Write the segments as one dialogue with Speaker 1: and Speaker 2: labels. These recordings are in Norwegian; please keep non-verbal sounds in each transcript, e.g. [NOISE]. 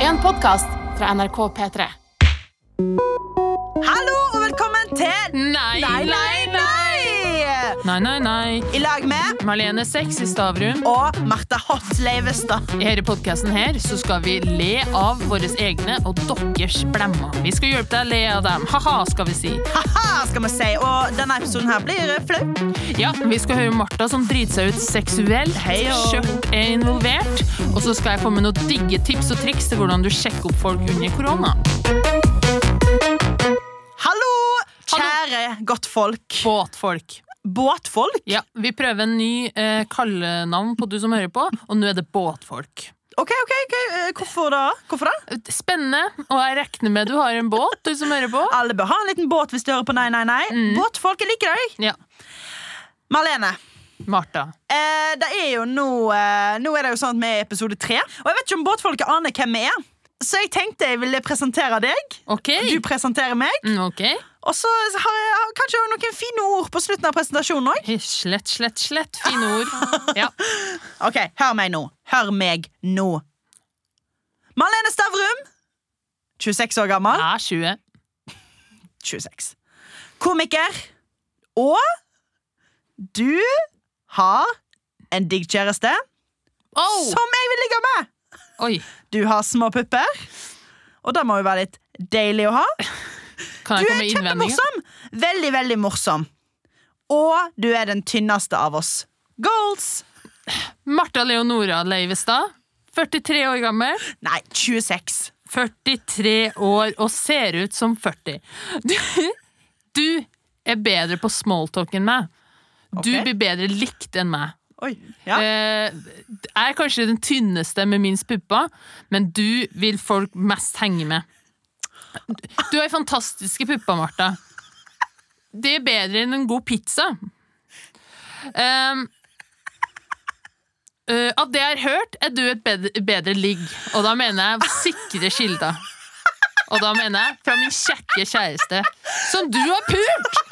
Speaker 1: En podkast fra NRK P3.
Speaker 2: Hallo og velkommen til
Speaker 1: Nei,
Speaker 2: Nei, nei, nei!
Speaker 1: Nei, nei, nei.
Speaker 2: I lag med
Speaker 1: Marlene Sex i Stavrum.
Speaker 2: og Martha Hot Leivestad.
Speaker 1: I denne podkasten her så skal vi le av våre egne og deres blemmer. Vi skal hjelpe deg å le av dem. Ha-ha, skal vi si.
Speaker 2: Haha, skal vi si. Og denne episoden her blir flau.
Speaker 1: Ja, Vi skal høre Martha som driter seg ut seksuelt.
Speaker 2: Hei, ja.
Speaker 1: Kjøtt er involvert. Og så skal jeg komme med noen digge tips og triks til hvordan du sjekker opp folk under korona.
Speaker 2: Hallo, kjære godtfolk.
Speaker 1: Båtfolk.
Speaker 2: Båtfolk?
Speaker 1: Ja, Vi prøver en ny eh, kallenavn på du som hører på, og nå er det båtfolk.
Speaker 2: Ok, ok, ok. Eh, Hvorfor da? Hvorfor da?
Speaker 1: Spennende, og jeg regner med du har en båt, du som hører på.
Speaker 2: Alle bør ha en liten båt hvis de hører på Nei, nei, nei. Båtfolk, jeg liker deg.
Speaker 1: Ja,
Speaker 2: Marlene.
Speaker 1: Martha.
Speaker 2: Eh, det er jo nå eh, Nå er det jo sånn at vi er i episode tre. Og jeg vet ikke om båtfolket aner hvem vi er. Så jeg tenkte jeg ville presentere deg.
Speaker 1: Ok.
Speaker 2: Du presenterer meg.
Speaker 1: Mm, ok.
Speaker 2: Og så har jeg har kanskje også noen fine ord på slutten av presentasjonen òg.
Speaker 1: Slett, slett, slett. Fine ord. Ja.
Speaker 2: Ok, hør meg nå. Hør meg nå. Marlene Stavrum, 26 år gammel.
Speaker 1: Jeg er 20.
Speaker 2: 26. Komiker. Og du har en digg kjæreste
Speaker 1: Oh!
Speaker 2: som jeg vil ligge med.
Speaker 1: Oi.
Speaker 2: Du har små pupper, og det må jo være litt deilig å ha.
Speaker 1: Kan jeg komme
Speaker 2: Du er
Speaker 1: med innvendinger?
Speaker 2: kjempemorsom. Veldig, veldig morsom. Og du er den tynneste av oss. Goals!
Speaker 1: Martha Leonora Leivestad. 43 år gammel.
Speaker 2: Nei, 26.
Speaker 1: 43 år og ser ut som 40. Du, du er bedre på smalltalk enn meg. Du
Speaker 2: Ok.
Speaker 1: blir bedre likt enn meg.
Speaker 2: Oi. Ja.
Speaker 1: Eh, jeg er kanskje den tynneste med minst pupper, men du vil folk mest henge med. Du har fantastiske pupper, Martha. Det er bedre enn en god pizza. Um, eh, av det jeg har hørt, er du et bedre, bedre ligg. Og da mener jeg sikre kilder. Og da mener jeg fra min kjekke kjæreste, som du har pult!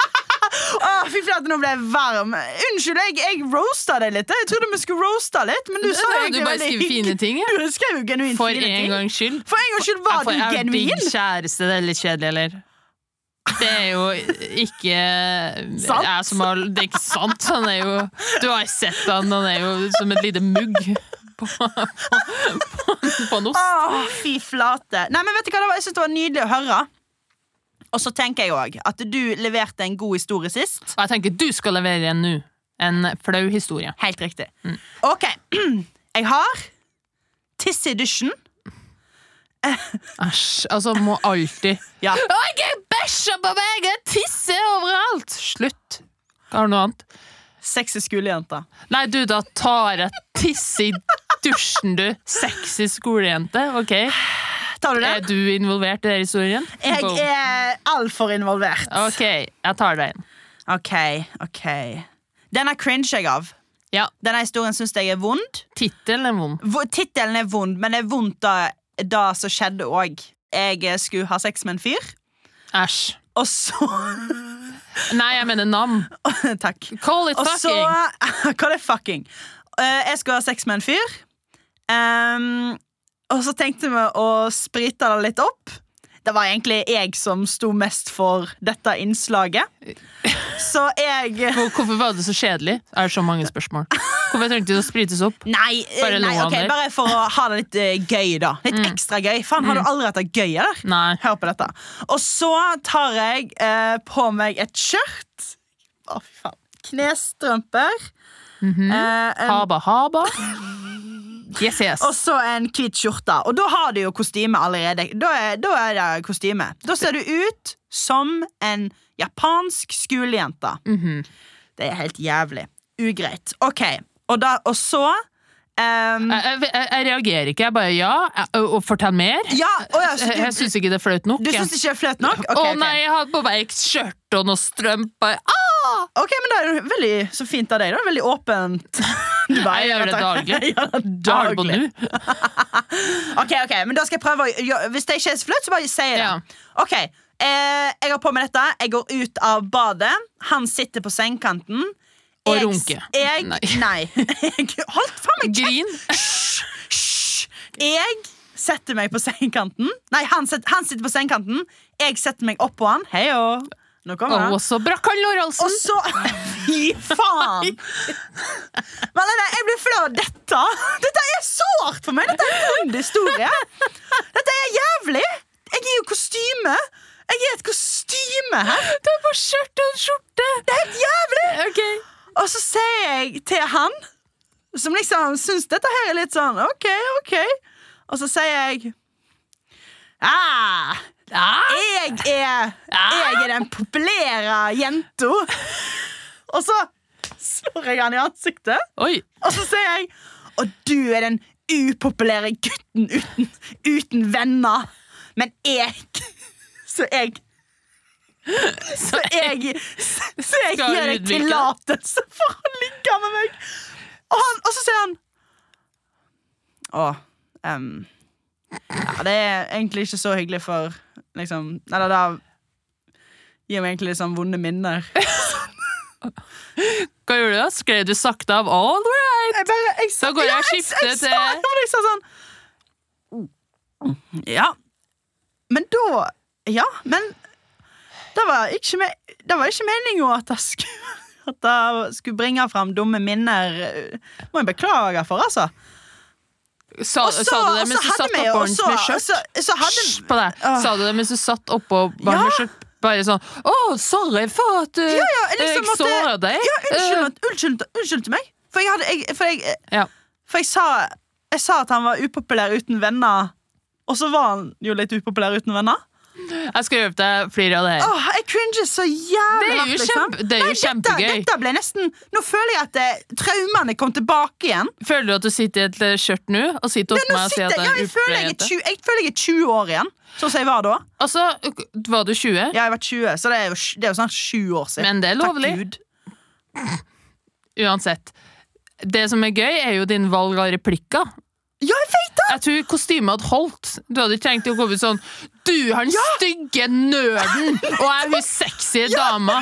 Speaker 2: Åh, fy flate, nå ble jeg varm. Unnskyld, jeg, jeg roasta deg litt. Jeg trodde vi skulle roasta litt, men du
Speaker 1: Det
Speaker 2: sa
Speaker 1: er
Speaker 2: jo
Speaker 1: jo
Speaker 2: egentlig
Speaker 1: du bare
Speaker 2: veldig
Speaker 1: skriver fine
Speaker 2: hyggelig.
Speaker 1: ting, ja.
Speaker 2: Du skrev jo genuint
Speaker 1: For
Speaker 2: fine
Speaker 1: en
Speaker 2: ting.
Speaker 1: gangs skyld.
Speaker 2: For en gangs skyld var
Speaker 1: For
Speaker 2: du
Speaker 1: jeg har
Speaker 2: genuin.
Speaker 1: digg kjæreste, det er litt kjedelig, eller? Det er jo ikke
Speaker 2: Sant.
Speaker 1: Jeg som har, det er ikke sant. Han er jo Du har sett han, han er jo som et lite mugg på, på, på, på en ost.
Speaker 2: Åh, fy flate. Nei, men vet du hva det var? Jeg synes det var nydelig å høre. Og så tenker jeg òg at du leverte en god historie sist.
Speaker 1: Og jeg tenker du skal levere en nå. En flau historie.
Speaker 2: Helt riktig. Mm. OK. [CLEARS THROAT] Jeg har tiss i dusjen.
Speaker 1: Æsj. Altså, må alltid
Speaker 2: Ja.
Speaker 1: Å, jeg bæsjer på meg! Jeg tisser overalt! Slutt. Har du noe annet?
Speaker 2: Sexy skolejente.
Speaker 1: Nei, du, da tar jeg tisse i dusjen, du. Sexy skolejente. Ok.
Speaker 2: Tar du det?
Speaker 1: Er du involvert i den historien?
Speaker 2: Jeg er altfor involvert.
Speaker 1: Ok, jeg tar deg inn.
Speaker 2: Ok, ok Den er cringe jeg av
Speaker 1: Ja,
Speaker 2: Denne historien synes jeg er vond
Speaker 1: tittelen er vond.
Speaker 2: v Tittelen er vond, men det er vondt da, da som skjedde også Jeg eh, skulle ha sex med en fyr
Speaker 1: Æsj.
Speaker 2: Og så [LAUGHS]
Speaker 1: Nei, jeg mener nam.
Speaker 2: Takk
Speaker 1: Call it
Speaker 2: Og så
Speaker 1: fucking.
Speaker 2: [LAUGHS] Hva er det fucking? Eh, jeg skulle ha sex med en fyr Ehm, Og så tenkte vi å sprite det litt opp Det var egentlig jeg som sto mest for dette innslaget Så jeg
Speaker 1: Hvor- Hvorfor var det så kjedelig? Er det så mange spørsmål? Hvorfor trengte det å sprites opp?
Speaker 2: Nei,
Speaker 1: Bare
Speaker 2: eh,
Speaker 1: lo
Speaker 2: nei
Speaker 1: han Mm.
Speaker 2: ok,
Speaker 1: der.
Speaker 2: bare for å ha det litt eh, gøy, da. Litt ekstra gøy. Faen,
Speaker 1: Mm.
Speaker 2: har du aldri hatt det gøy? Eller?
Speaker 1: Nei.
Speaker 2: Hør på dette. Og så tar jeg eh, på meg et skjørt. Å, fy faen. Knestrømper.
Speaker 1: Mhm.
Speaker 2: eh, en,
Speaker 1: Haba, haba. Yes, yes.
Speaker 2: og så en hvit skjorte. Og da har du jo kostyme allerede. Da er, da er det kostyme. Da ser du ut som en japansk skolejente.
Speaker 1: Mhm.
Speaker 2: Det er helt jævlig. Ugreit. OK. Og, da, og så ehm,
Speaker 1: Jeg, jeg, jeg- jeg reagerer ikke. Jeg bare ja. Jeg, og og fortell mer.
Speaker 2: Ja, å ja, så
Speaker 1: Jeg,
Speaker 2: du,
Speaker 1: jeg syns ikke det er flaut nok.
Speaker 2: Du
Speaker 1: jeg.
Speaker 2: syns det ikke er flaut nok?
Speaker 1: Å
Speaker 2: Ok, ok.
Speaker 1: nei, jeg hadde på meg et skjørt og noen strømper. Ah,
Speaker 2: ok, men da er det veldig så fint av deg. da Veldig åpent. [LAUGHS] Du bare,
Speaker 1: Jeg gjør det daglig.
Speaker 2: [LAUGHS] Jeg gjør det
Speaker 1: jeg har det på
Speaker 2: daglig.
Speaker 1: nå.
Speaker 2: Ok, ok, men da skal jeg prøve å gjø- Hvis det ikke er så flaut, så bare si det.
Speaker 1: Ja.
Speaker 2: Ok, eh, Jeg har på meg dette. Jeg går ut av badet. Han sitter på sengekanten.
Speaker 1: Og
Speaker 2: Jeg-
Speaker 1: runker.
Speaker 2: Jeg, [LAUGHS]
Speaker 1: Nei.
Speaker 2: nei. Jeg, holdt faen meg kjeft!
Speaker 1: Grin.
Speaker 2: Hysj! Jeg setter meg på sengekanten. Nei, han, set, han sitter på sengekanten. Jeg setter meg opp på han. Hei og Nå kommer
Speaker 1: Og
Speaker 2: han.
Speaker 1: så brakk han altså.
Speaker 2: Og
Speaker 1: lårhalsen!
Speaker 2: så [LAUGHS] Fy faen! Men Lene, jeg blir flau av dette. Dette er sårt for meg. Dette er en vond historie. Dette er jævlig. Jeg er jo kostyme. Jeg er et kostyme her.
Speaker 1: Du har på skjørt og skjorte! Det er helt jævlig!
Speaker 2: Og så sier jeg til han, som liksom syns dette her er litt sånn OK, OK. Og så sier jeg ah,
Speaker 1: Ah,
Speaker 2: jeg, er, jeg er den populære jenta. Og så slår jeg han i ansiktet,
Speaker 1: oi.
Speaker 2: og så sier jeg Og du er den upopulære gutten uten, uten venner. Men jeg Så jeg
Speaker 1: Så
Speaker 2: jeg, så jeg
Speaker 1: Skal
Speaker 2: gir deg
Speaker 1: Ludvig det?
Speaker 2: tillatelse for å ligge med meg. Og, han, og så sier han Å em, ja, Det er egentlig ikke så hyggelig for liksom, Eller det gir meg egentlig litt sånn vonde minner.
Speaker 1: Hva gjorde du da? Skrev du sakte av all right?
Speaker 2: Jeg bare, jeg,
Speaker 1: Da går jeg og skifter
Speaker 2: jeg, jeg,
Speaker 1: til-
Speaker 2: sa- ja, men jeg sa sånn Ja. Men da Ja, men det var ikke, me- det var ikke meningen at det skulle at det skulle bringe fram dumme minner. Må jeg beklage for, altså.
Speaker 1: Sa,
Speaker 2: Og så-
Speaker 1: sa du det
Speaker 2: og så
Speaker 1: mens du
Speaker 2: hadde
Speaker 1: satt
Speaker 2: vi jo
Speaker 1: oppå
Speaker 2: også-
Speaker 1: med skjørt?
Speaker 2: Så, så
Speaker 1: Hysj
Speaker 2: hadde
Speaker 1: på deg.
Speaker 2: Åh.
Speaker 1: Sa du det mens du satt oppå barnet
Speaker 2: Ja.
Speaker 1: med skjørt? Bare sånn 'Å, sorry for at uh,
Speaker 2: ja, jeg liksom
Speaker 1: jeg
Speaker 2: måtte-
Speaker 1: såra deg'.
Speaker 2: Ja,
Speaker 1: Eh,
Speaker 2: unnskyld, unnskyld, unnskyld til meg. For jeg hadde jeg, For jeg,
Speaker 1: ja.
Speaker 2: for jeg, sa, jeg sa at han var upopulær uten venner, og så var han jo litt upopulær uten venner.
Speaker 1: Jeg skal hjelpe deg flere av det her.
Speaker 2: Åh, jeg cringer så jævlig
Speaker 1: Det er jo
Speaker 2: hardt, liksom.
Speaker 1: kjempe- det er jo
Speaker 2: Nei,
Speaker 1: kjempegøy.
Speaker 2: Dette, dette ble nesten Nå føler jeg at eh, traumene kom tilbake igjen.
Speaker 1: Føler du at du sitter i et eh, skjørt nå og sitter opp
Speaker 2: Nå
Speaker 1: meg og sier
Speaker 2: sitter,
Speaker 1: at
Speaker 2: jeg- ja,
Speaker 1: det
Speaker 2: jeg,
Speaker 1: er
Speaker 2: føler jeg, er
Speaker 1: uplejente?
Speaker 2: 20, jeg føler jeg er 20 år igjen, sånn som jeg var da.
Speaker 1: Altså, var du 20?
Speaker 2: Ja, jeg var 20, så det er jo, sj- det er jo snart sju år siden.
Speaker 1: Men det er
Speaker 2: Takk
Speaker 1: lovlig.
Speaker 2: Gud.
Speaker 1: Uansett. Det som er gøy, er jo din valg av replikker.
Speaker 2: Ja, jeg vet det!
Speaker 1: Jeg tror kostymet hadde holdt. Du hadde ikke trengt å gå ut sånn Du, han stygge nerden! Og jeg, hun sexy dama!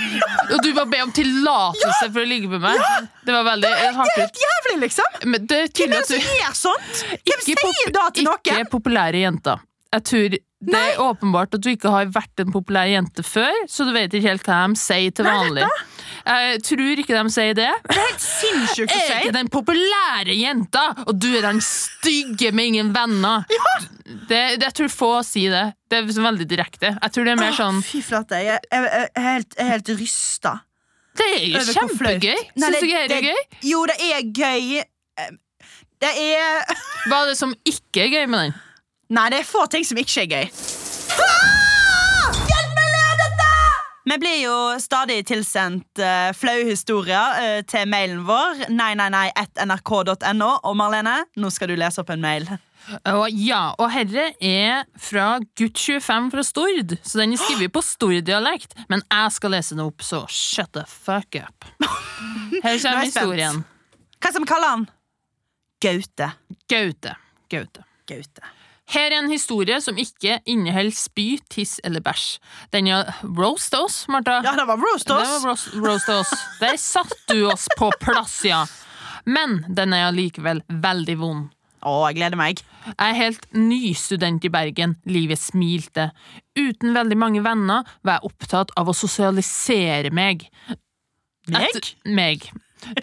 Speaker 1: Og du bare be om tillatelse for å ligge med meg. Det var veldig hardt ut.
Speaker 2: Helt jævlig, liksom.
Speaker 1: Men det er
Speaker 2: Hvem
Speaker 1: tydelig
Speaker 2: er det
Speaker 1: at
Speaker 2: som
Speaker 1: du
Speaker 2: gjør sånt? Hvem
Speaker 1: altså, ikke, pop-
Speaker 2: sier da til
Speaker 1: ikke
Speaker 2: noen?
Speaker 1: populære jenter. Jeg tror det er åpenbart at du ikke har vært en populær jente før, så du vet ikke helt hva de sier til vanlig. Jeg tror ikke de sier det.
Speaker 2: Det er helt sinnssykt å
Speaker 1: Jeg er
Speaker 2: si.
Speaker 1: ikke den populære jenta, og du er den stygge med ingen venner. Det, det, jeg tror få sier det. Det er liksom veldig direkte. Jeg tror det er mer sånn
Speaker 2: Åh, Fy flate, jeg jeg- jeg er helt, jeg er helt rysta.
Speaker 1: Det er jo
Speaker 2: Over hvor flaut.
Speaker 1: kjempegøy!
Speaker 2: Nei,
Speaker 1: Syns du ikke det er gøy?
Speaker 2: Jo, det er gøy. Eh, Det er
Speaker 1: Hva er det som ikke er gøy med den?
Speaker 2: Nei, det er få ting som ikke er gøy. Vi blir jo stadig tilsendt uh, flaue historier eh, til mailen vår. Nei, nei, nei, at nrk.no. Og Marlene, nå skal du lese opp en mail.
Speaker 1: Og ja, og herre er fra gutt25 fra Stord, så den er skrevet på Stord-dialekt. Men jeg skal lese den opp, så shut the fuck up. Her
Speaker 2: Nå er
Speaker 1: kommer
Speaker 2: jeg spent.
Speaker 1: historien.
Speaker 2: Hva skal vi kalle han? Gaute.
Speaker 1: Gaute. Gaute.
Speaker 2: Gaute.
Speaker 1: Her er en historie som ikke inneholder spy, tiss eller bæsj. Den er roast oss, Martha.
Speaker 2: Ja, det var roast
Speaker 1: Det
Speaker 2: oss.
Speaker 1: var roast, roast oss. Der satt du oss på plass, ja. Men den er allikevel veldig vond.
Speaker 2: Å, jeg gleder meg.
Speaker 1: Jeg er helt ny student i Bergen, livet smilte. Uten veldig mange venner var jeg opptatt av å sosialisere meg.
Speaker 2: Meg?
Speaker 1: meg.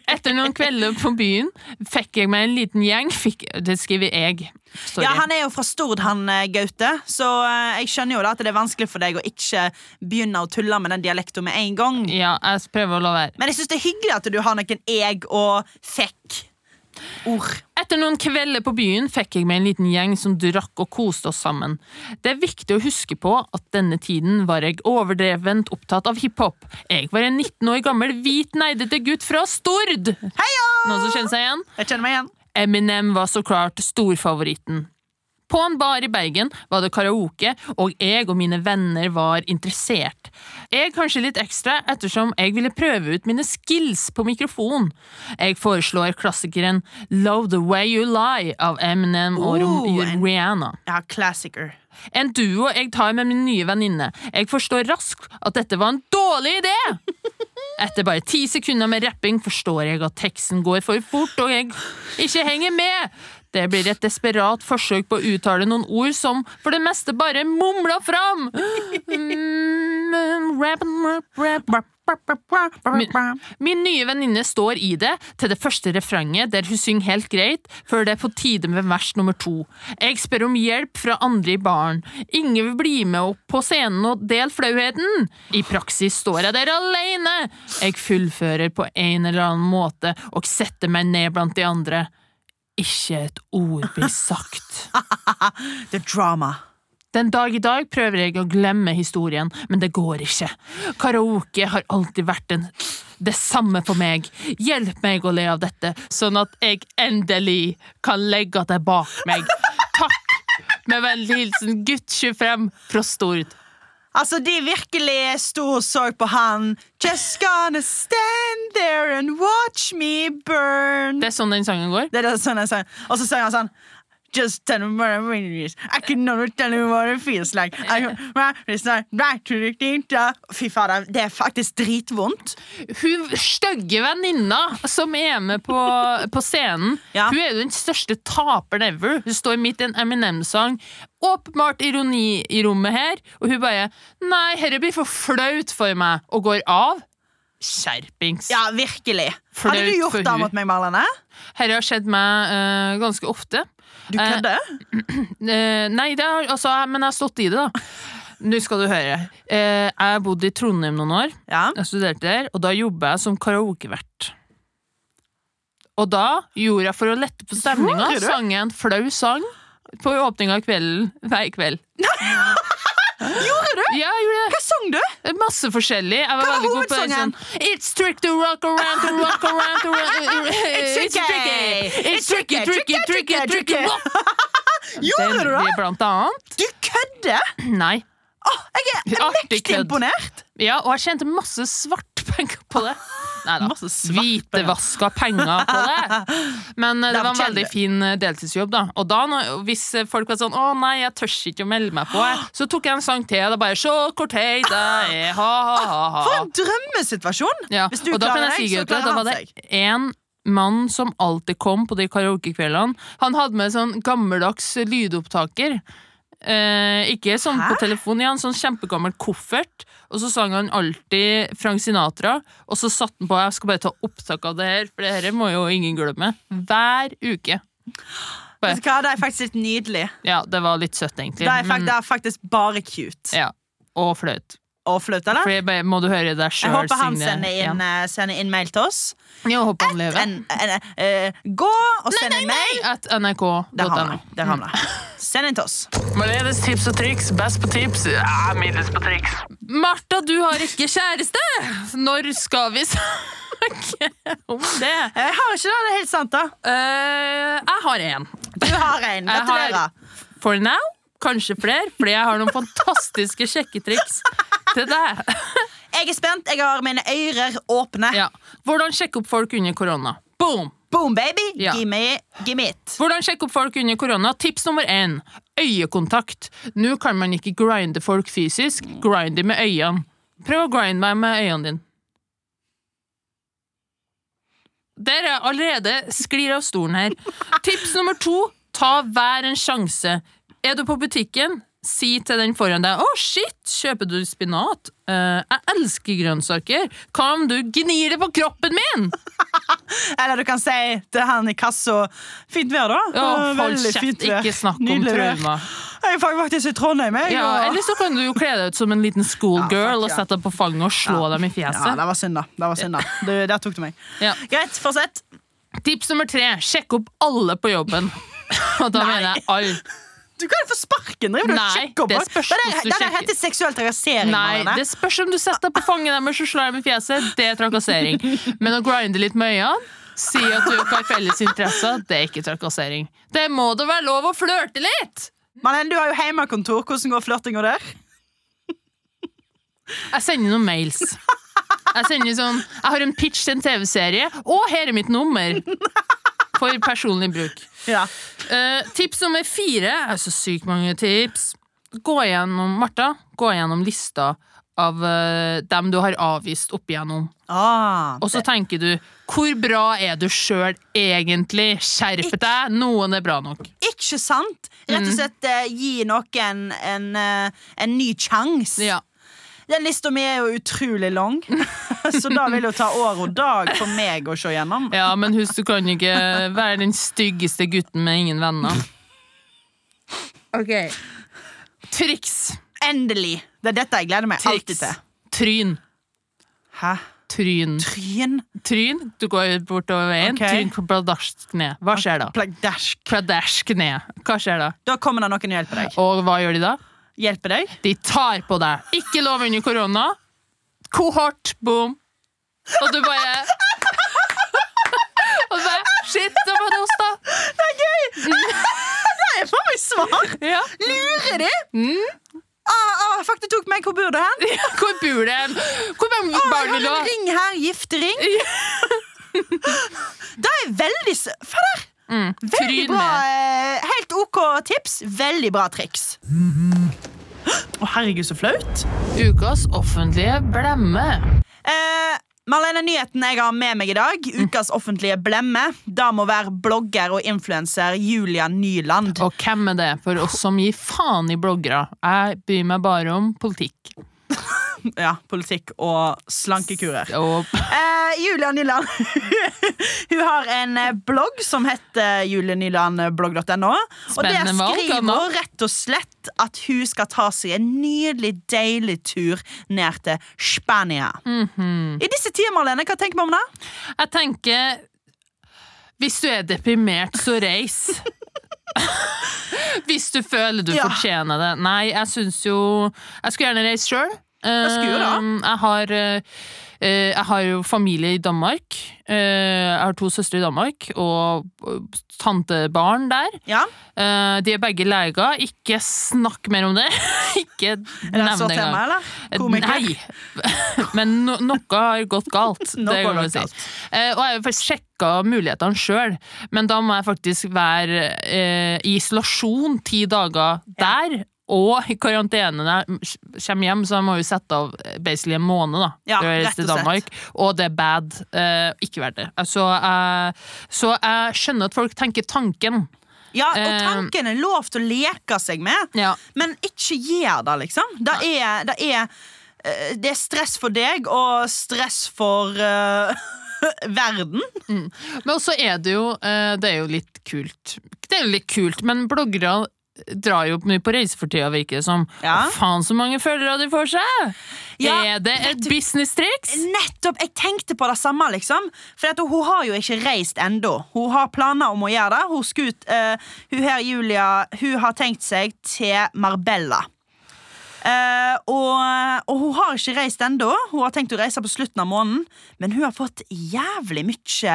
Speaker 1: Etter noen kvelder på byen fikk jeg meg en liten gjeng fikk, Det skriver jeg. Sorry.
Speaker 2: Ja, Han er jo fra Stord, han eh, Gaute, så eh, jeg skjønner jo da at det er vanskelig for deg å ikke begynne å tulle med den dialekten med en gang.
Speaker 1: ja, jeg prøver å la være.
Speaker 2: Men jeg syns det er hyggelig at du har noen eg og fikk-ord.
Speaker 1: Etter noen kvelder på byen fikk jeg med en liten gjeng som drakk og koste oss sammen. Det er viktig å huske på at denne tiden var jeg overdrevent opptatt av hiphop. Jeg var en 19 år gammel hvit neidete gutt fra Stord!
Speaker 2: Heia!
Speaker 1: Noen som kjenner seg igjen?
Speaker 2: Jeg kjenner meg igjen.
Speaker 1: Eminem var så klart storfavoritten. På en bar i Bergen var det karaoke, og jeg og mine venner var interessert. Jeg kanskje litt ekstra, ettersom jeg ville prøve ut mine skills på mikrofon. Jeg foreslår klassikeren Love the Way You Lie av Eminem og
Speaker 2: Oh, en-
Speaker 1: Rihanna.
Speaker 2: Ja, classicer.
Speaker 1: En duo jeg tar med min nye venninne. Jeg forstår raskt at dette var en dårlig idé! Etter bare ti sekunder med rapping forstår jeg at teksten går for fort, og jeg ikke henger med. Det blir et desperat forsøk på å uttale noen ord som for det meste bare mumler fram. Mm, rap, rap, rap. Min nye venninne står i det til det første refrenget, der hun synger helt greit, før det er på tide med vers nummer to. Jeg spør om hjelp fra andre i baren. Ingen vil bli med opp på scenen og del flauheten. I praksis står jeg der alene. Jeg fullfører på en eller annen måte og setter meg ned blant de andre. Ikke et ord blir sagt.
Speaker 2: The drama.
Speaker 1: Den dag i dag prøver jeg å glemme historien, men det går ikke. Karaoke har alltid vært en det samme for meg. Hjelp meg å le av dette, sånn at jeg endelig kan legge det bak meg. Takk! Med vennlig hilsen gutt 25 fra Stord.
Speaker 2: Altså, de virkelig sto og så på han. Just gonna stand there and watch me burn.
Speaker 1: Det er sånn den sangen går.
Speaker 2: Det er det sånn jeg sang. Og så sang han sånn Just tell me what it feels I can never tell you what it feels like I can It's not right to the data. Fy fader, det er faktisk dritvondt.
Speaker 1: Hun stygge venninna som er med på, på scenen,
Speaker 2: Ja.
Speaker 1: hun er jo den største taperen ever. Hun står midt i en Eminem-sang. Åpenbart ironi i rommet her, og hun bare 'Nei, dette blir for flaut for meg', og går av. Skjerpings.
Speaker 2: Ja, virkelig. Hadde
Speaker 1: Flaut
Speaker 2: du
Speaker 1: for
Speaker 2: gjort det
Speaker 1: hun.
Speaker 2: mot meg, Marlene?
Speaker 1: Dette har skjedd meg eh, ganske ofte.
Speaker 2: Du
Speaker 1: Eh,
Speaker 2: kødder?
Speaker 1: Eh, nei, det har, altså, jeg- men jeg har stått i det, da. Nå skal du høre. Eh, jeg har bodd i Trondheim noen år.
Speaker 2: Ja.
Speaker 1: Jeg studerte der, og da jobba jeg som karaokevert. Og da gjorde jeg for å lette på stemninga,
Speaker 2: Gjorde du?
Speaker 1: sang jeg en flau sang på åpninga av kvelden hver kveld.
Speaker 2: [LAUGHS] Gjorde du?
Speaker 1: Ja, jeg gjorde det.
Speaker 2: Hva sang du?
Speaker 1: Masse forskjellig. Jeg var
Speaker 2: var
Speaker 1: veldig god på det, sånn
Speaker 2: hovedsangen?
Speaker 1: It's trick to rock around to rock around to rock
Speaker 2: [LAUGHS] It's tricky.
Speaker 1: It's tricky, tricky, tricky, tricky.
Speaker 2: [LAUGHS] Gjorde du det?
Speaker 1: Blant annet.
Speaker 2: Du kødder?
Speaker 1: Nei.
Speaker 2: Åh, jeg er
Speaker 1: Artig
Speaker 2: mektig
Speaker 1: kødd.
Speaker 2: imponert.
Speaker 1: Ja, og jeg tjente masse svartpenger på det. Nei da.
Speaker 2: Masse svartpenger.
Speaker 1: Hvitevaska penger på det. Men eh, det
Speaker 2: Dem
Speaker 1: var en
Speaker 2: kjenner
Speaker 1: veldig
Speaker 2: du.
Speaker 1: fin eh, deltidsjobb, da. Og da, når- hvis eh, folk var sånn 'Å nei, jeg tør ikke å melde meg på', jeg», så tok jeg en sang til. Og da bare 'Sjå hvor teit jeg er',
Speaker 2: For
Speaker 1: ha-ha-ha.
Speaker 2: en drømmesituasjon!
Speaker 1: Ja.
Speaker 2: Hvis du
Speaker 1: Og da kan
Speaker 2: klarer
Speaker 1: jeg si,
Speaker 2: deg, så
Speaker 1: Gaute,
Speaker 2: klarer
Speaker 1: da
Speaker 2: han
Speaker 1: var det én mann som alltid kom på de karaokekveldene. Han hadde med sånn gammeldags lydopptaker. Eh, ikke sånn på
Speaker 2: Hæ?
Speaker 1: telefon, i en sånn kjempegammel koffert. Og så sang han alltid Frank Sinatra, og så satte han på Jeg skal bare ta opptak av det her, for det her må jo ingen glemme.
Speaker 2: Mm.
Speaker 1: Hver uke.
Speaker 2: Vet du hva, Det er faktisk litt nydelig.
Speaker 1: Ja, det var litt søtt, egentlig.
Speaker 2: Det er, fakt,
Speaker 1: men-
Speaker 2: det er faktisk bare cute.
Speaker 1: ja, og flaut.
Speaker 2: Og flaut, eller?
Speaker 1: For jeg bare, må du høre deg sjøl
Speaker 2: Jeg håper han
Speaker 1: synge det
Speaker 2: sender inn,
Speaker 1: igjen.
Speaker 2: eh, sender inn mail til oss.
Speaker 1: Jeg håper han lever.
Speaker 2: En, en, eh, gå og send inn mail.
Speaker 1: At
Speaker 2: Der
Speaker 1: nrk.no.
Speaker 2: havner det. Der havner det. [LAUGHS] Send inn til oss.
Speaker 1: Maledes tips og triks, best på tips, ja, middels på triks. Martha, du har ikke kjæreste! Når skal vi snakke om det?
Speaker 2: Jeg har ikke det. Det er helt sant, da.
Speaker 1: Eh, jeg har én.
Speaker 2: Du har
Speaker 1: [LAUGHS]
Speaker 2: en.
Speaker 1: Jeg har-
Speaker 2: Gratulerer.
Speaker 1: For now, kanskje flere, fordi jeg har noen fantastiske sjekketriks til deg.
Speaker 2: Jeg er spent. Jeg har mine ører åpne.
Speaker 1: Ja. Hvordan sjekke opp folk under korona? Boom!
Speaker 2: Boom, baby.
Speaker 1: Ja.
Speaker 2: Give, me, give me it.
Speaker 1: Hvordan sjekke opp folk under korona? Tips nummer én øyekontakt. Nå kan man ikke grinde folk fysisk. Grind de med øynene. Prøv å grinde meg med øynene dine. Der er jeg allerede sklir av stolen her. Tips nummer to ta hver en sjanse. Er du på butikken, si til den foran deg 'Å, shit, kjøper du spinat?' Eh, 'Jeg elsker grønnsaker. Hva om du gnir det på kroppen min?'
Speaker 2: Eller du kan si til han i kassa Fint vær, da.
Speaker 1: Å,
Speaker 2: Eh,
Speaker 1: hold
Speaker 2: veldig
Speaker 1: kjeft,
Speaker 2: fint vær.
Speaker 1: ikke snakk om
Speaker 2: Nydelig vær.
Speaker 1: traumer.
Speaker 2: Jeg er faktisk i Trondheim, jeg.
Speaker 1: Ja,
Speaker 2: og-
Speaker 1: eller så kan du jo kle deg ut som en liten
Speaker 2: Ja,
Speaker 1: schoolgirl
Speaker 2: fuck,
Speaker 1: og
Speaker 2: ja.
Speaker 1: sette deg på fanget og slå dem i
Speaker 2: Ja,
Speaker 1: fjeset.
Speaker 2: det var synd, da. Det var
Speaker 1: [LAUGHS]
Speaker 2: synd, da. Du, der tok du meg.
Speaker 1: Ja.
Speaker 2: Greit, fortsett.
Speaker 1: Tips nummer tre sjekk opp alle på
Speaker 2: [LAUGHS]
Speaker 1: jobben. Og da
Speaker 2: Nei.
Speaker 1: mener jeg alle.
Speaker 2: Du kan jo få sparken! Driver du og
Speaker 1: Nei,
Speaker 2: sjekker opp
Speaker 1: det
Speaker 2: folk?
Speaker 1: spørs
Speaker 2: Det
Speaker 1: hvordan du
Speaker 2: der- det der
Speaker 1: sjekker.
Speaker 2: heter seksuell trakassering.
Speaker 1: Nei,
Speaker 2: Marianne.
Speaker 1: det spørs om du setter deg på fanget deres og slår dem i fjeset. Det er trakassering. Men å grinde litt med øynene, si at du ikke har felles interesser, det er ikke trakassering. Det må da være lov å flørte litt!
Speaker 2: Marlene, du har jo hjemmekontor. Hvordan går flørtinga der?
Speaker 1: Jeg sender noen mails. Jeg sender sånn Jeg har en pitch til en TV-serie, og her er mitt nummer! For personlig bruk.
Speaker 2: Ja.
Speaker 1: Eh, tips nummer fire er så sykt mange tips. Gå gjennom, Martha, gå gjennom lista av eh, dem du har avvist opp igjennom.
Speaker 2: Ah,
Speaker 1: Og så tenker du hvor bra er du sjøl egentlig? Skjerp deg! Noen er bra nok.
Speaker 2: ikke sant? Rett og slett eh, gi noen en, eh, en ny sjanse.
Speaker 1: Ja.
Speaker 2: Den lista mi er jo utrolig lang, [LAUGHS] så da vil det jo ta år og dag for meg å se gjennom.
Speaker 1: ja, men husk, du kan ikke være den styggeste gutten med ingen venner.
Speaker 2: Ok
Speaker 1: Triks!
Speaker 2: Endelig! Det er dette jeg gleder meg alltid
Speaker 1: Triks.
Speaker 2: til.
Speaker 1: Tryn.
Speaker 2: Hæ?
Speaker 1: Tryn.
Speaker 2: Tryn?
Speaker 1: Tryn. Du går bortover veien.
Speaker 2: Ok.
Speaker 1: Tryn på pladask ned. Hva skjer da?
Speaker 2: Plagdask.
Speaker 1: Pladask ned. Hva skjer da?
Speaker 2: Da kommer det noen og hjelper deg.
Speaker 1: Og hva gjør de da?
Speaker 2: Hjelper deg?
Speaker 1: De tar på deg. Ikke lov under korona. Kohort. Boom. Og du bare [LAUGHS] Og du bare Shit, da var det oss, da.
Speaker 2: Nei, jeg får meg svar!
Speaker 1: Ja.
Speaker 2: Lurer de? Ah, ah, fuck, du tok meg. Hvor bor du hen?
Speaker 1: Hvor bor det en Hvor mange
Speaker 2: Ah,
Speaker 1: barn
Speaker 2: jeg
Speaker 1: vil du
Speaker 2: har
Speaker 1: ha?
Speaker 2: en ring her. Giftering. [LAUGHS] da er jeg veldig s- Fader!
Speaker 1: Mm.
Speaker 2: Veldig
Speaker 1: Tryn
Speaker 2: bra.
Speaker 1: ned.
Speaker 2: eh, Helt OK tips. Veldig bra triks. Å, herregud, så flaut.
Speaker 1: Ukas offentlige blemme.
Speaker 2: Eh, Marlene, nyheten jeg har med meg i dag, ukas offentlige blemme, da må være blogger og influenser Julia Nyland.
Speaker 1: Og hvem er det for oss som gir faen i bloggere? Jeg bryr meg bare om politikk.
Speaker 2: Ja, politikk og slankekurer.
Speaker 1: Og
Speaker 2: Eh, Julia Nyland [LAUGHS] Hun har en eh, blogg som heter julianylandblogg.no. Og der
Speaker 1: Spennende valg,
Speaker 2: skriver
Speaker 1: Anna.
Speaker 2: hun rett og slett at hun skal ta seg en nydelig, deilig tur ned til Spania.
Speaker 1: Mhm.
Speaker 2: I disse tider, Marlene, hva tenker vi om det?
Speaker 1: jeg tenker Hvis du er deprimert, så
Speaker 2: [LAUGHS]
Speaker 1: reis. hvis du føler du
Speaker 2: Ja.
Speaker 1: fortjener det. Nei, jeg syns jo Jeg skulle gjerne reist sjøl.
Speaker 2: skulle jo da.
Speaker 1: Jeg har eh, eh, jeg har jo familie i Danmark. Eh, Jeg har to søstre i Danmark og og tantebarn der.
Speaker 2: Ja,
Speaker 1: Eh, De er begge leger. Ikke snakk mer om det! [LAUGHS] Ikke
Speaker 2: Er det
Speaker 1: nevn det
Speaker 2: et sårt
Speaker 1: engang.
Speaker 2: tema, eller?
Speaker 1: Eh,
Speaker 2: Komiker?
Speaker 1: Nei, [LAUGHS] men no noe har gått
Speaker 2: [LAUGHS]
Speaker 1: galt.
Speaker 2: Noe
Speaker 1: det
Speaker 2: har
Speaker 1: kan vi
Speaker 2: gått
Speaker 1: si.
Speaker 2: galt.
Speaker 1: Eh, og jeg har jo faktisk sjekka mulighetene sjøl, men da må jeg faktisk være eh, i isolasjon ti dager der. Og i karantene når jeg kommer hjem, så jeg må jo sette av eh, basically en måned. da
Speaker 2: Ja,
Speaker 1: til å reise
Speaker 2: rett og
Speaker 1: til
Speaker 2: slett.
Speaker 1: Danmark, og det er bad. Eh, ikke verdt det. Altså, eh, så jeg skjønner at folk tenker tanken.
Speaker 2: Ja, og
Speaker 1: Eh,
Speaker 2: tanken er lov til å leke seg med,
Speaker 1: Ja.
Speaker 2: men ikke gjør det, liksom. Det er, det er, eh, det er stress for deg og stress for eh, [LAUGHS] verden.
Speaker 1: Men også er det jo eh, Det er jo litt kult. Det er jo litt kult, men bloggere drar jo mye på reise for tida, virker det som.
Speaker 2: Ja.
Speaker 1: Og Faen så mange følgere de får seg!
Speaker 2: Ja,
Speaker 1: er det et business-triks?
Speaker 2: Nettopp! Jeg tenkte på det samme, liksom. For at hun har jo ikke reist ennå. Hun har planer om å gjøre det. Hun, skut, eh, hun her, Julia, hun har tenkt seg til Marbella. Eh, og, og hun har ikke reist ennå. Hun har tenkt å reise på slutten av måneden. Men hun har fått jævlig mye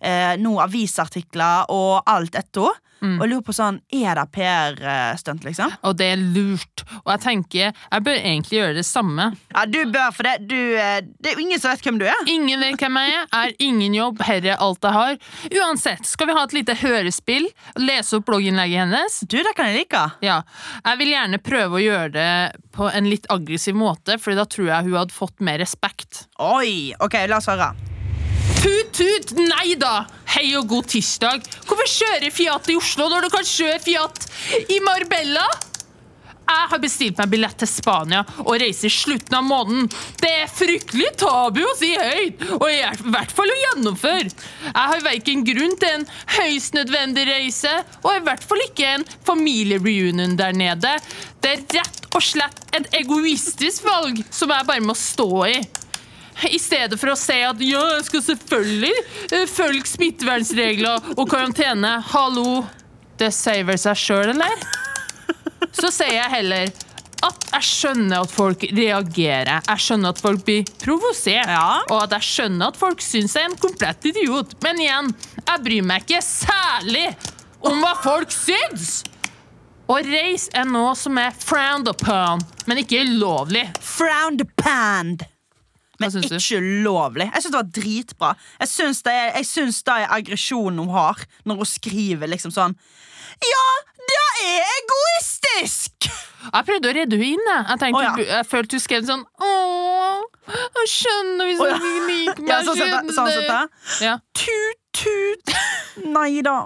Speaker 2: eh, nå avisartikler og alt etter henne. Og jeg lurer på sånn, er det PR-stunt, liksom?
Speaker 1: Og det er lurt. Og jeg tenker, jeg bør egentlig gjøre det samme.
Speaker 2: Ja, du bør for det. Du, eh, det er jo ingen som vet hvem du er.
Speaker 1: Ingen vet hvem jeg er, er ingen jobb, herre alt jeg har. Uansett, skal vi ha et lite hørespill? Lese opp blogginnlegget hennes?
Speaker 2: Du, det kan jeg like.
Speaker 1: Ja. Jeg vil gjerne prøve å gjøre det på en litt aggressiv måte, for da tror jeg hun hadde fått mer respekt.
Speaker 2: Oi, ok, la oss høre
Speaker 1: Tut, tut! Nei da! Hei og god tirsdag. Hvorfor kjøre Fiat i Oslo når du kan kjøre Fiat i Marbella? Jeg har bestilt meg billett til Spania og reiser i slutten av måneden. Det er fryktelig tabu å si høyt, og i hvert- hvert fall å gjennomføre. Jeg har verken grunn til en høyst nødvendig reise, og i hvert fall ikke en familiereunion der nede. Det er rett og slett et egoistisk valg som jeg bare må stå i. I stedet for å si at ja, jeg skal selvfølgelig eh, følge smittevernregler og karantene. Hallo, det sier vel seg sjøl, eller? Så sier jeg heller at jeg skjønner at folk reagerer. Jeg skjønner at folk blir provosert.
Speaker 2: Ja.
Speaker 1: Og at jeg skjønner at folk syns jeg er en komplett idiot. Men igjen, jeg bryr meg ikke særlig om hva folk syns! Og reis er noe som er frowned upon, men ikke ulovlig.
Speaker 2: Frowned panned Men
Speaker 1: syns du?
Speaker 2: ikke ulovlig Jeg synes det var dritbra Jeg synes det er, jeg synes det er aggresjon hun har Når hun skriver liksom sånn Ja, det er egoistisk
Speaker 1: Jeg prøvde å redde henne inn. Jeg, jeg, tenkte,
Speaker 2: Å, ja.
Speaker 1: hun- jeg følte hun skrev sånn Åh, jeg skjønner hvis
Speaker 2: Å, ja.
Speaker 1: hun liker meg.
Speaker 2: Ja, sånn
Speaker 1: jeg
Speaker 2: sett, sånn sett
Speaker 1: skjønner».
Speaker 2: da.
Speaker 1: Ja.
Speaker 2: Tut, tut. Nei da.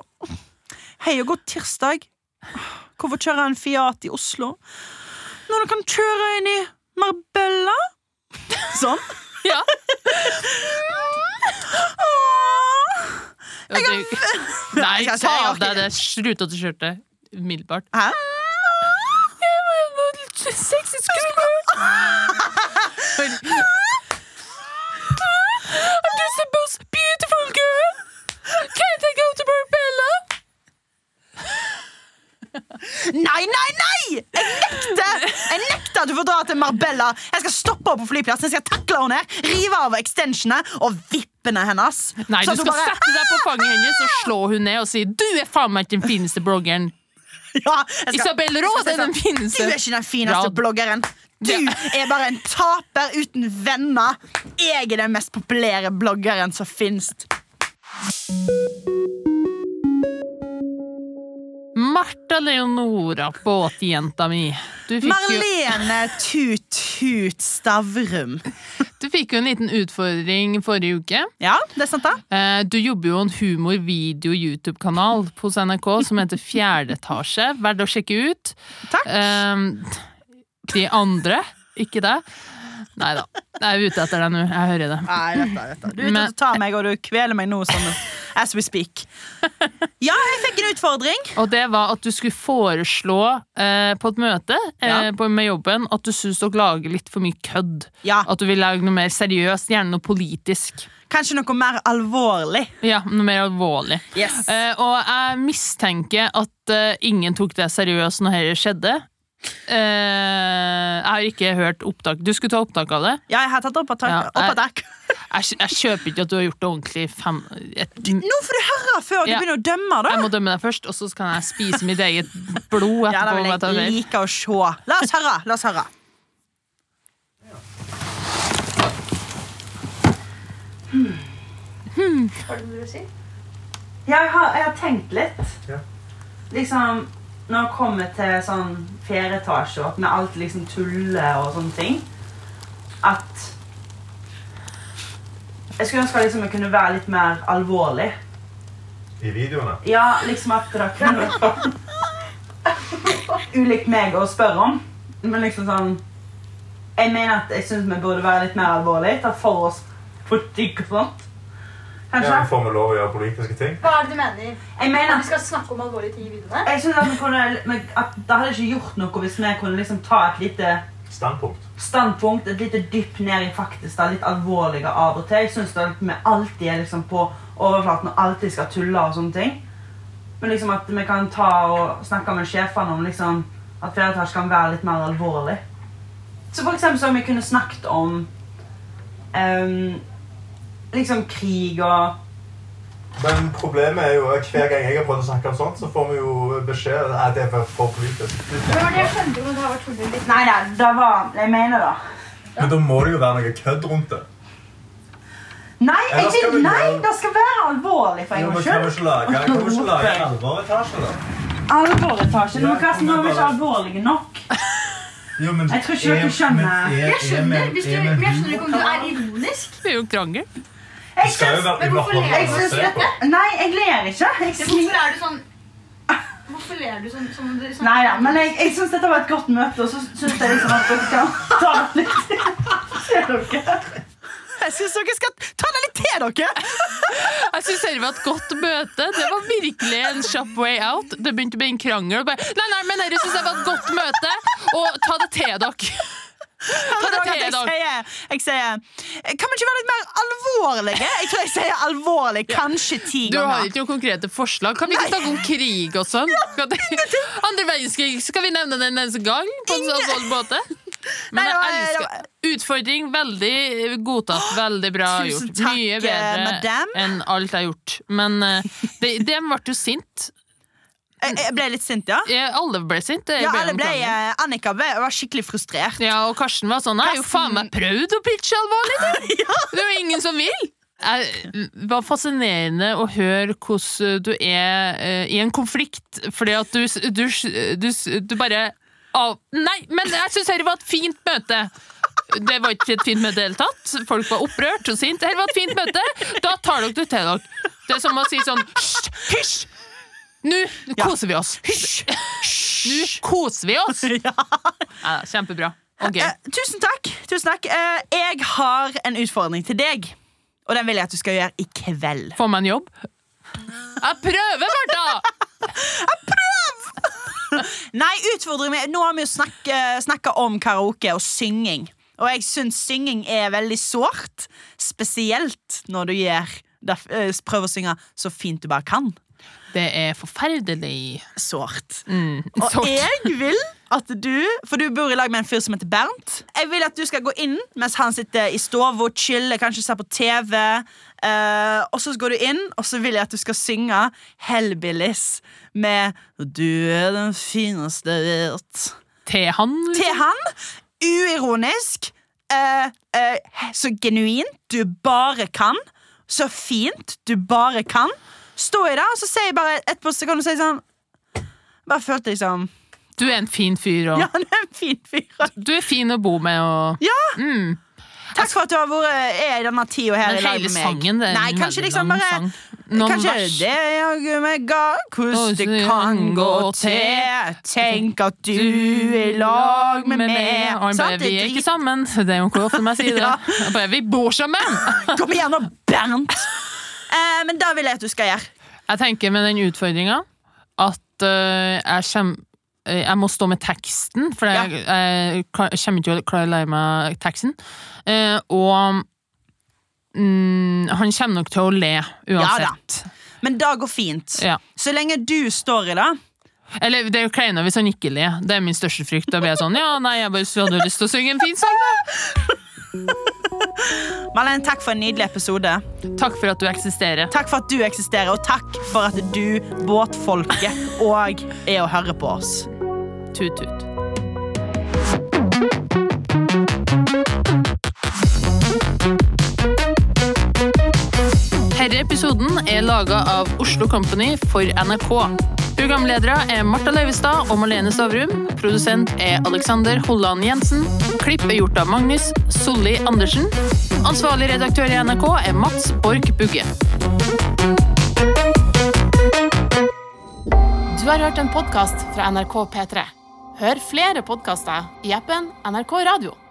Speaker 2: Hei og god tirsdag. Hvorfor kjører jeg en Fiat i Oslo? Når du kan kjøre inn i Marbella? Sånn.
Speaker 1: ja.
Speaker 2: [LAUGHS] Åh.
Speaker 1: Jeg Nei,
Speaker 2: Jeg skal-
Speaker 1: ta
Speaker 2: jeg
Speaker 1: av
Speaker 2: orker
Speaker 1: deg det slutete skjørtet umiddelbart.
Speaker 2: Hæ?
Speaker 1: Sexy skuespiller! I'm just the most beautiful girl! Can't I go to Barbella?
Speaker 2: Nei, nei, nei! Jeg nekter! Jeg nekter at du får dra til Marbella. Jeg skal stoppe henne på flyplassen, jeg skal takle henne ned, rive av extensionene og vippene hennes.
Speaker 1: Nei,
Speaker 2: Sånn
Speaker 1: du
Speaker 2: at hun
Speaker 1: skal sette deg på fanget hennes og slå hun ned og si 'du er faen meg ikke den fineste bloggeren'.
Speaker 2: [LAUGHS] Ja, jeg skal-
Speaker 1: Isabel Råd er den
Speaker 2: Du
Speaker 1: fineste.
Speaker 2: er ikke den fineste
Speaker 1: Rad.
Speaker 2: bloggeren. Du er bare en taper uten venner. Jeg er den mest populære bloggeren som fins.
Speaker 1: Martha Leonora, båtjenta mi. Du fikk, jo,
Speaker 2: Marlene Tut-Tut Stavrum.
Speaker 1: du fikk jo en liten utfordring forrige uke.
Speaker 2: Ja, det er sant, da?
Speaker 1: Eh, Du jobber jo en humor-, video-, YouTube-kanal hos NRK som heter Fjerde etasje. Verdt å sjekke ut.
Speaker 2: Takk.
Speaker 1: Ehm, De andre, ikke deg. Nei da. Jeg er ute etter deg nå. Jeg hører det.
Speaker 2: Nei, dette, dette. Du er ute
Speaker 1: Men-
Speaker 2: etter å ta meg, og du kveler meg nå som as we
Speaker 1: [LAUGHS]
Speaker 2: speak. Ja, jeg fikk en utfordring.
Speaker 1: Og det var at du skulle foreslå eh, på et møte eh,
Speaker 2: Ja.
Speaker 1: på, med jobben at du syns dere lager litt for mye kødd.
Speaker 2: Ja,
Speaker 1: At du vil lage noe mer seriøst, gjerne noe politisk.
Speaker 2: Kanskje noe mer alvorlig.
Speaker 1: Ja, Noe mer alvorlig.
Speaker 2: Yes.
Speaker 1: Eh, og jeg mistenker at eh, ingen tok det seriøst når dette skjedde. Eh, jeg har ikke hørt opptak. Du skulle ta opptak av det.
Speaker 2: Ja, jeg har tatt opp av
Speaker 1: Ja, eh,
Speaker 2: tak. Opp av tak.
Speaker 1: Jeg, kj- jeg kjøper ikke at du har gjort det ordentlig. Fem, et, jeg
Speaker 2: Nå får du høre før du
Speaker 1: Ja.
Speaker 2: begynner å dømme, da.
Speaker 1: må dømme deg først, og så kan jeg spise mitt eget blod
Speaker 2: Ja, da
Speaker 1: etterpå. om jeg tar
Speaker 2: vil jeg
Speaker 1: feil.
Speaker 2: like å se. La oss høre. La oss høre.
Speaker 3: Har du noe å si?
Speaker 2: Jeg har, jeg har tenkt litt.
Speaker 4: Ja.
Speaker 2: Liksom, når det kommer til sånn fjerde etasje, og at vi alltid liksom tuller og sånne ting At Jeg skulle ønske liksom jeg kunne være litt mer alvorlig.
Speaker 4: I videoene?
Speaker 2: Ja, liksom at det kunne vært Ulikt meg å spørre om. Men liksom sånn Jeg mener at jeg syns vi burde være litt mer alvorlige. Ta for oss politikk og sånt. Kanskje?
Speaker 4: Ja, får vi lov å gjøre politiske ting?
Speaker 3: Hva er det du mener?
Speaker 2: Jeg mener
Speaker 3: At
Speaker 2: at
Speaker 3: vi skal snakke om alvorlige ting i videoene?
Speaker 2: Jeg synes at, vi kunne, men at Det hadde ikke gjort noe hvis vi kunne liksom ta et lite
Speaker 4: Standpunkt.
Speaker 2: standpunkt, et lite dypp ned i faktisk det litt alvorlige av og til. Jeg synes det at vi alltid er liksom på overflaten og alltid skal tulle og sånne ting. Men liksom at vi kan ta og snakke med sjefene om liksom at flere etasjer kan være litt mer alvorlig. Så for eksempel så om vi kunne snakket om ehm, liksom krig og
Speaker 4: Men problemet er jo at hver gang jeg har prøvd å snakke om sånt, så får vi jo beskjed om at det er for politisk.
Speaker 3: Det var det jeg skjønte, men det har vært tullet litt.
Speaker 2: Nei, nei, det var Jeg mener det.
Speaker 4: Men da må det jo være noe kødd rundt det.
Speaker 2: Nei, jeg
Speaker 4: Eller skal
Speaker 2: vil,
Speaker 4: vi
Speaker 2: nei,
Speaker 4: gjøre-
Speaker 2: det skal være alvorlig for en
Speaker 4: Ja, men
Speaker 2: gangs
Speaker 4: kan vi
Speaker 2: skyld.
Speaker 4: ikke lage, kan vi ikke lage en alvoretasje, da?
Speaker 2: Alvoretasje. Men
Speaker 4: Ja,
Speaker 2: Karsten, nå er vi ikke
Speaker 4: bare-
Speaker 2: alvorlige nok.
Speaker 4: Jo, men,
Speaker 2: Jeg tror ikke dere skjønner.
Speaker 3: Jeg skjønner, hvis du, men jeg skjønner ikke om du er ironisk.
Speaker 1: Det er jo krangel.
Speaker 2: Jeg
Speaker 4: Det skal jo
Speaker 2: syns,
Speaker 4: være
Speaker 3: Men hvorfor
Speaker 4: underholdende
Speaker 2: jeg
Speaker 3: ler du
Speaker 4: å
Speaker 2: syns
Speaker 4: se på.
Speaker 3: dette?
Speaker 2: Nei, jeg ler ikke. Jeg
Speaker 3: Hvorfor
Speaker 2: smiler.
Speaker 3: er du sånn Hvorfor ler du sånn? som du- sånn
Speaker 2: Nei da, men jeg, jeg syns dette var et godt møte, og så syns jeg liksom at dere kan ta det litt [LAUGHS] til dere. Jeg syns dere skal ta det litt til dere.
Speaker 1: Jeg syns det var et godt møte. Det var virkelig en kjapp way out. Det begynte med en krangel. og Bare, nei, nei, men dere syns det var et godt møte, og ta det til dere. Ta det til
Speaker 2: Jeg
Speaker 1: dere.
Speaker 2: sier, jeg sier Kan vi ikke være litt mer alvorlige? Jeg tror jeg sier alvorlig kanskje ti
Speaker 1: Du har
Speaker 2: ganger.
Speaker 1: ikke noen konkrete forslag. Kan vi ikke snakke om krig og
Speaker 2: [LAUGHS]
Speaker 1: sånn? Kan det- Andre verdenskrig, skal vi nevne den en eneste gang? På en sånn sånn måte? Men jeg
Speaker 2: Nei, det var-
Speaker 1: elsker Utfordring, veldig godtatt. Veldig bra
Speaker 2: Tusen
Speaker 1: gjort.
Speaker 2: takk,
Speaker 1: Mye
Speaker 2: eh,
Speaker 1: bedre
Speaker 2: madame.
Speaker 1: enn alt jeg har gjort. Men eh, det, dem ble jo sint.
Speaker 2: Jeg jeg ble litt sint, ja.
Speaker 1: Eh, Alle ble sint. Det
Speaker 2: Ja,
Speaker 1: ble
Speaker 2: alle
Speaker 1: en
Speaker 2: ble,
Speaker 1: krangel.
Speaker 2: eh, Annika ble, var skikkelig frustrert.
Speaker 1: Ja, og Karsten var sånn Jeg har jo faen meg prøvd å pitche alvorlig! du. Det er jo ingen som vil! Jeg- Det var fascinerende å høre hvordan du er eh, i en konflikt, fordi at du, s- du, s- du, s- du bare av Nei, men jeg syns dette var et fint møte. Det var ikke et fint møte i det hele tatt. Folk var opprørt og sinte. Dette var et fint møte. Da tar dere det til dere. Det er som å si sånn Hysj! Hysj! Nå koser vi oss. Hysj! Nå koser vi oss.
Speaker 2: [LAUGHS] Ja.
Speaker 1: Ja, kjempebra. Og gøy.
Speaker 2: Eh, tusen takk. Tusen takk. Eh, jeg har en utfordring til deg. Og den vil jeg at du skal gjøre i kveld.
Speaker 1: Får meg en jobb? Jeg prøver, Martha!
Speaker 2: Nei, utfordring med, Nå har vi jo snakke, snakka om karaoke og synging. Og jeg syns synging er veldig sårt. Spesielt når du gjør, derf- eh, prøver å synge så fint du bare kan.
Speaker 1: Det er forferdelig.
Speaker 2: Sårt.
Speaker 1: Mm,
Speaker 2: Og
Speaker 1: sort.
Speaker 2: jeg vil at du, for du bor i lag med en fyr som heter Bernt Jeg vil at du skal gå inn mens han sitter i stov og chiller, kanskje ser på TV eh, Og så går du inn, og så vil jeg at du skal synge Hellbillies Med Du er den fineste jeg vet
Speaker 1: Til han, liksom.
Speaker 2: Til han, uironisk eh, eh, Så genuint du bare kan Så fint du bare kan Stå i det, og så sier jeg bare etterpå Så kan du si sånn Bare følte liksom
Speaker 1: Du er en fin fyr, og
Speaker 2: [LAUGHS] ja, han er en fin fyr.
Speaker 1: du er fin å bo med, og
Speaker 2: Ja,
Speaker 1: mm.
Speaker 2: Takk for at du har vært er i denne tida
Speaker 1: Men
Speaker 2: her i lag
Speaker 1: hele
Speaker 2: med meg.
Speaker 1: sangen, det er
Speaker 2: Nei,
Speaker 1: en
Speaker 2: kanskje
Speaker 1: veldig
Speaker 2: liksom
Speaker 1: lang
Speaker 2: bare
Speaker 1: sang. Noen
Speaker 2: Kanskje
Speaker 1: vers.
Speaker 2: det er jaggu meg ga hvordan det kan gå til. Tenk at du er i lag
Speaker 1: Og
Speaker 2: med meg.
Speaker 1: han bare,
Speaker 2: Sant?
Speaker 1: vi
Speaker 2: Det
Speaker 1: er
Speaker 2: er
Speaker 1: ikke sammen. Det er jo hvor ofte man sier det.
Speaker 2: Ja.
Speaker 1: Han bare, vi bor sammen!
Speaker 2: drit- Kom igjen nå, Bernt! Eh, men da vil jeg at du skal gjøre.
Speaker 1: Jeg tenker med den utfordringa at øh, jeg kjem øh, jeg må stå med teksten, for
Speaker 2: Ja.
Speaker 1: jeg, jeg kla- kommer ikke til å klare å lære meg teksten. Eh, og mm, han kommer nok til å le uansett.
Speaker 2: Men det går fint.
Speaker 1: Ja.
Speaker 2: Så lenge du står i det.
Speaker 1: Eller det er jo kleinere hvis han ikke ler. Det er min største frykt. Da blir jeg sånn Ja, nei, jeg bare hadde lyst til å synge en fin sang. da."
Speaker 2: Malene, takk for en nydelig episode.
Speaker 1: Takk for at du eksisterer.
Speaker 2: Takk for at du eksisterer, og takk for at du, båtfolket, òg er å høre på oss.
Speaker 1: Tut-tut. Herre episoden er laget av Oslo Company for NRK. Programledere er Martha Leivestad og Malene Stavrum. Produsent er Alexander Holland Jensen. Klipp er gjort av Magnus Solli Andersen. Ansvarlig redaktør i NRK er Mats Borg Bugge.
Speaker 5: Du har hørt en podkast fra NRK P3. Hør flere podkaster i appen NRK Radio.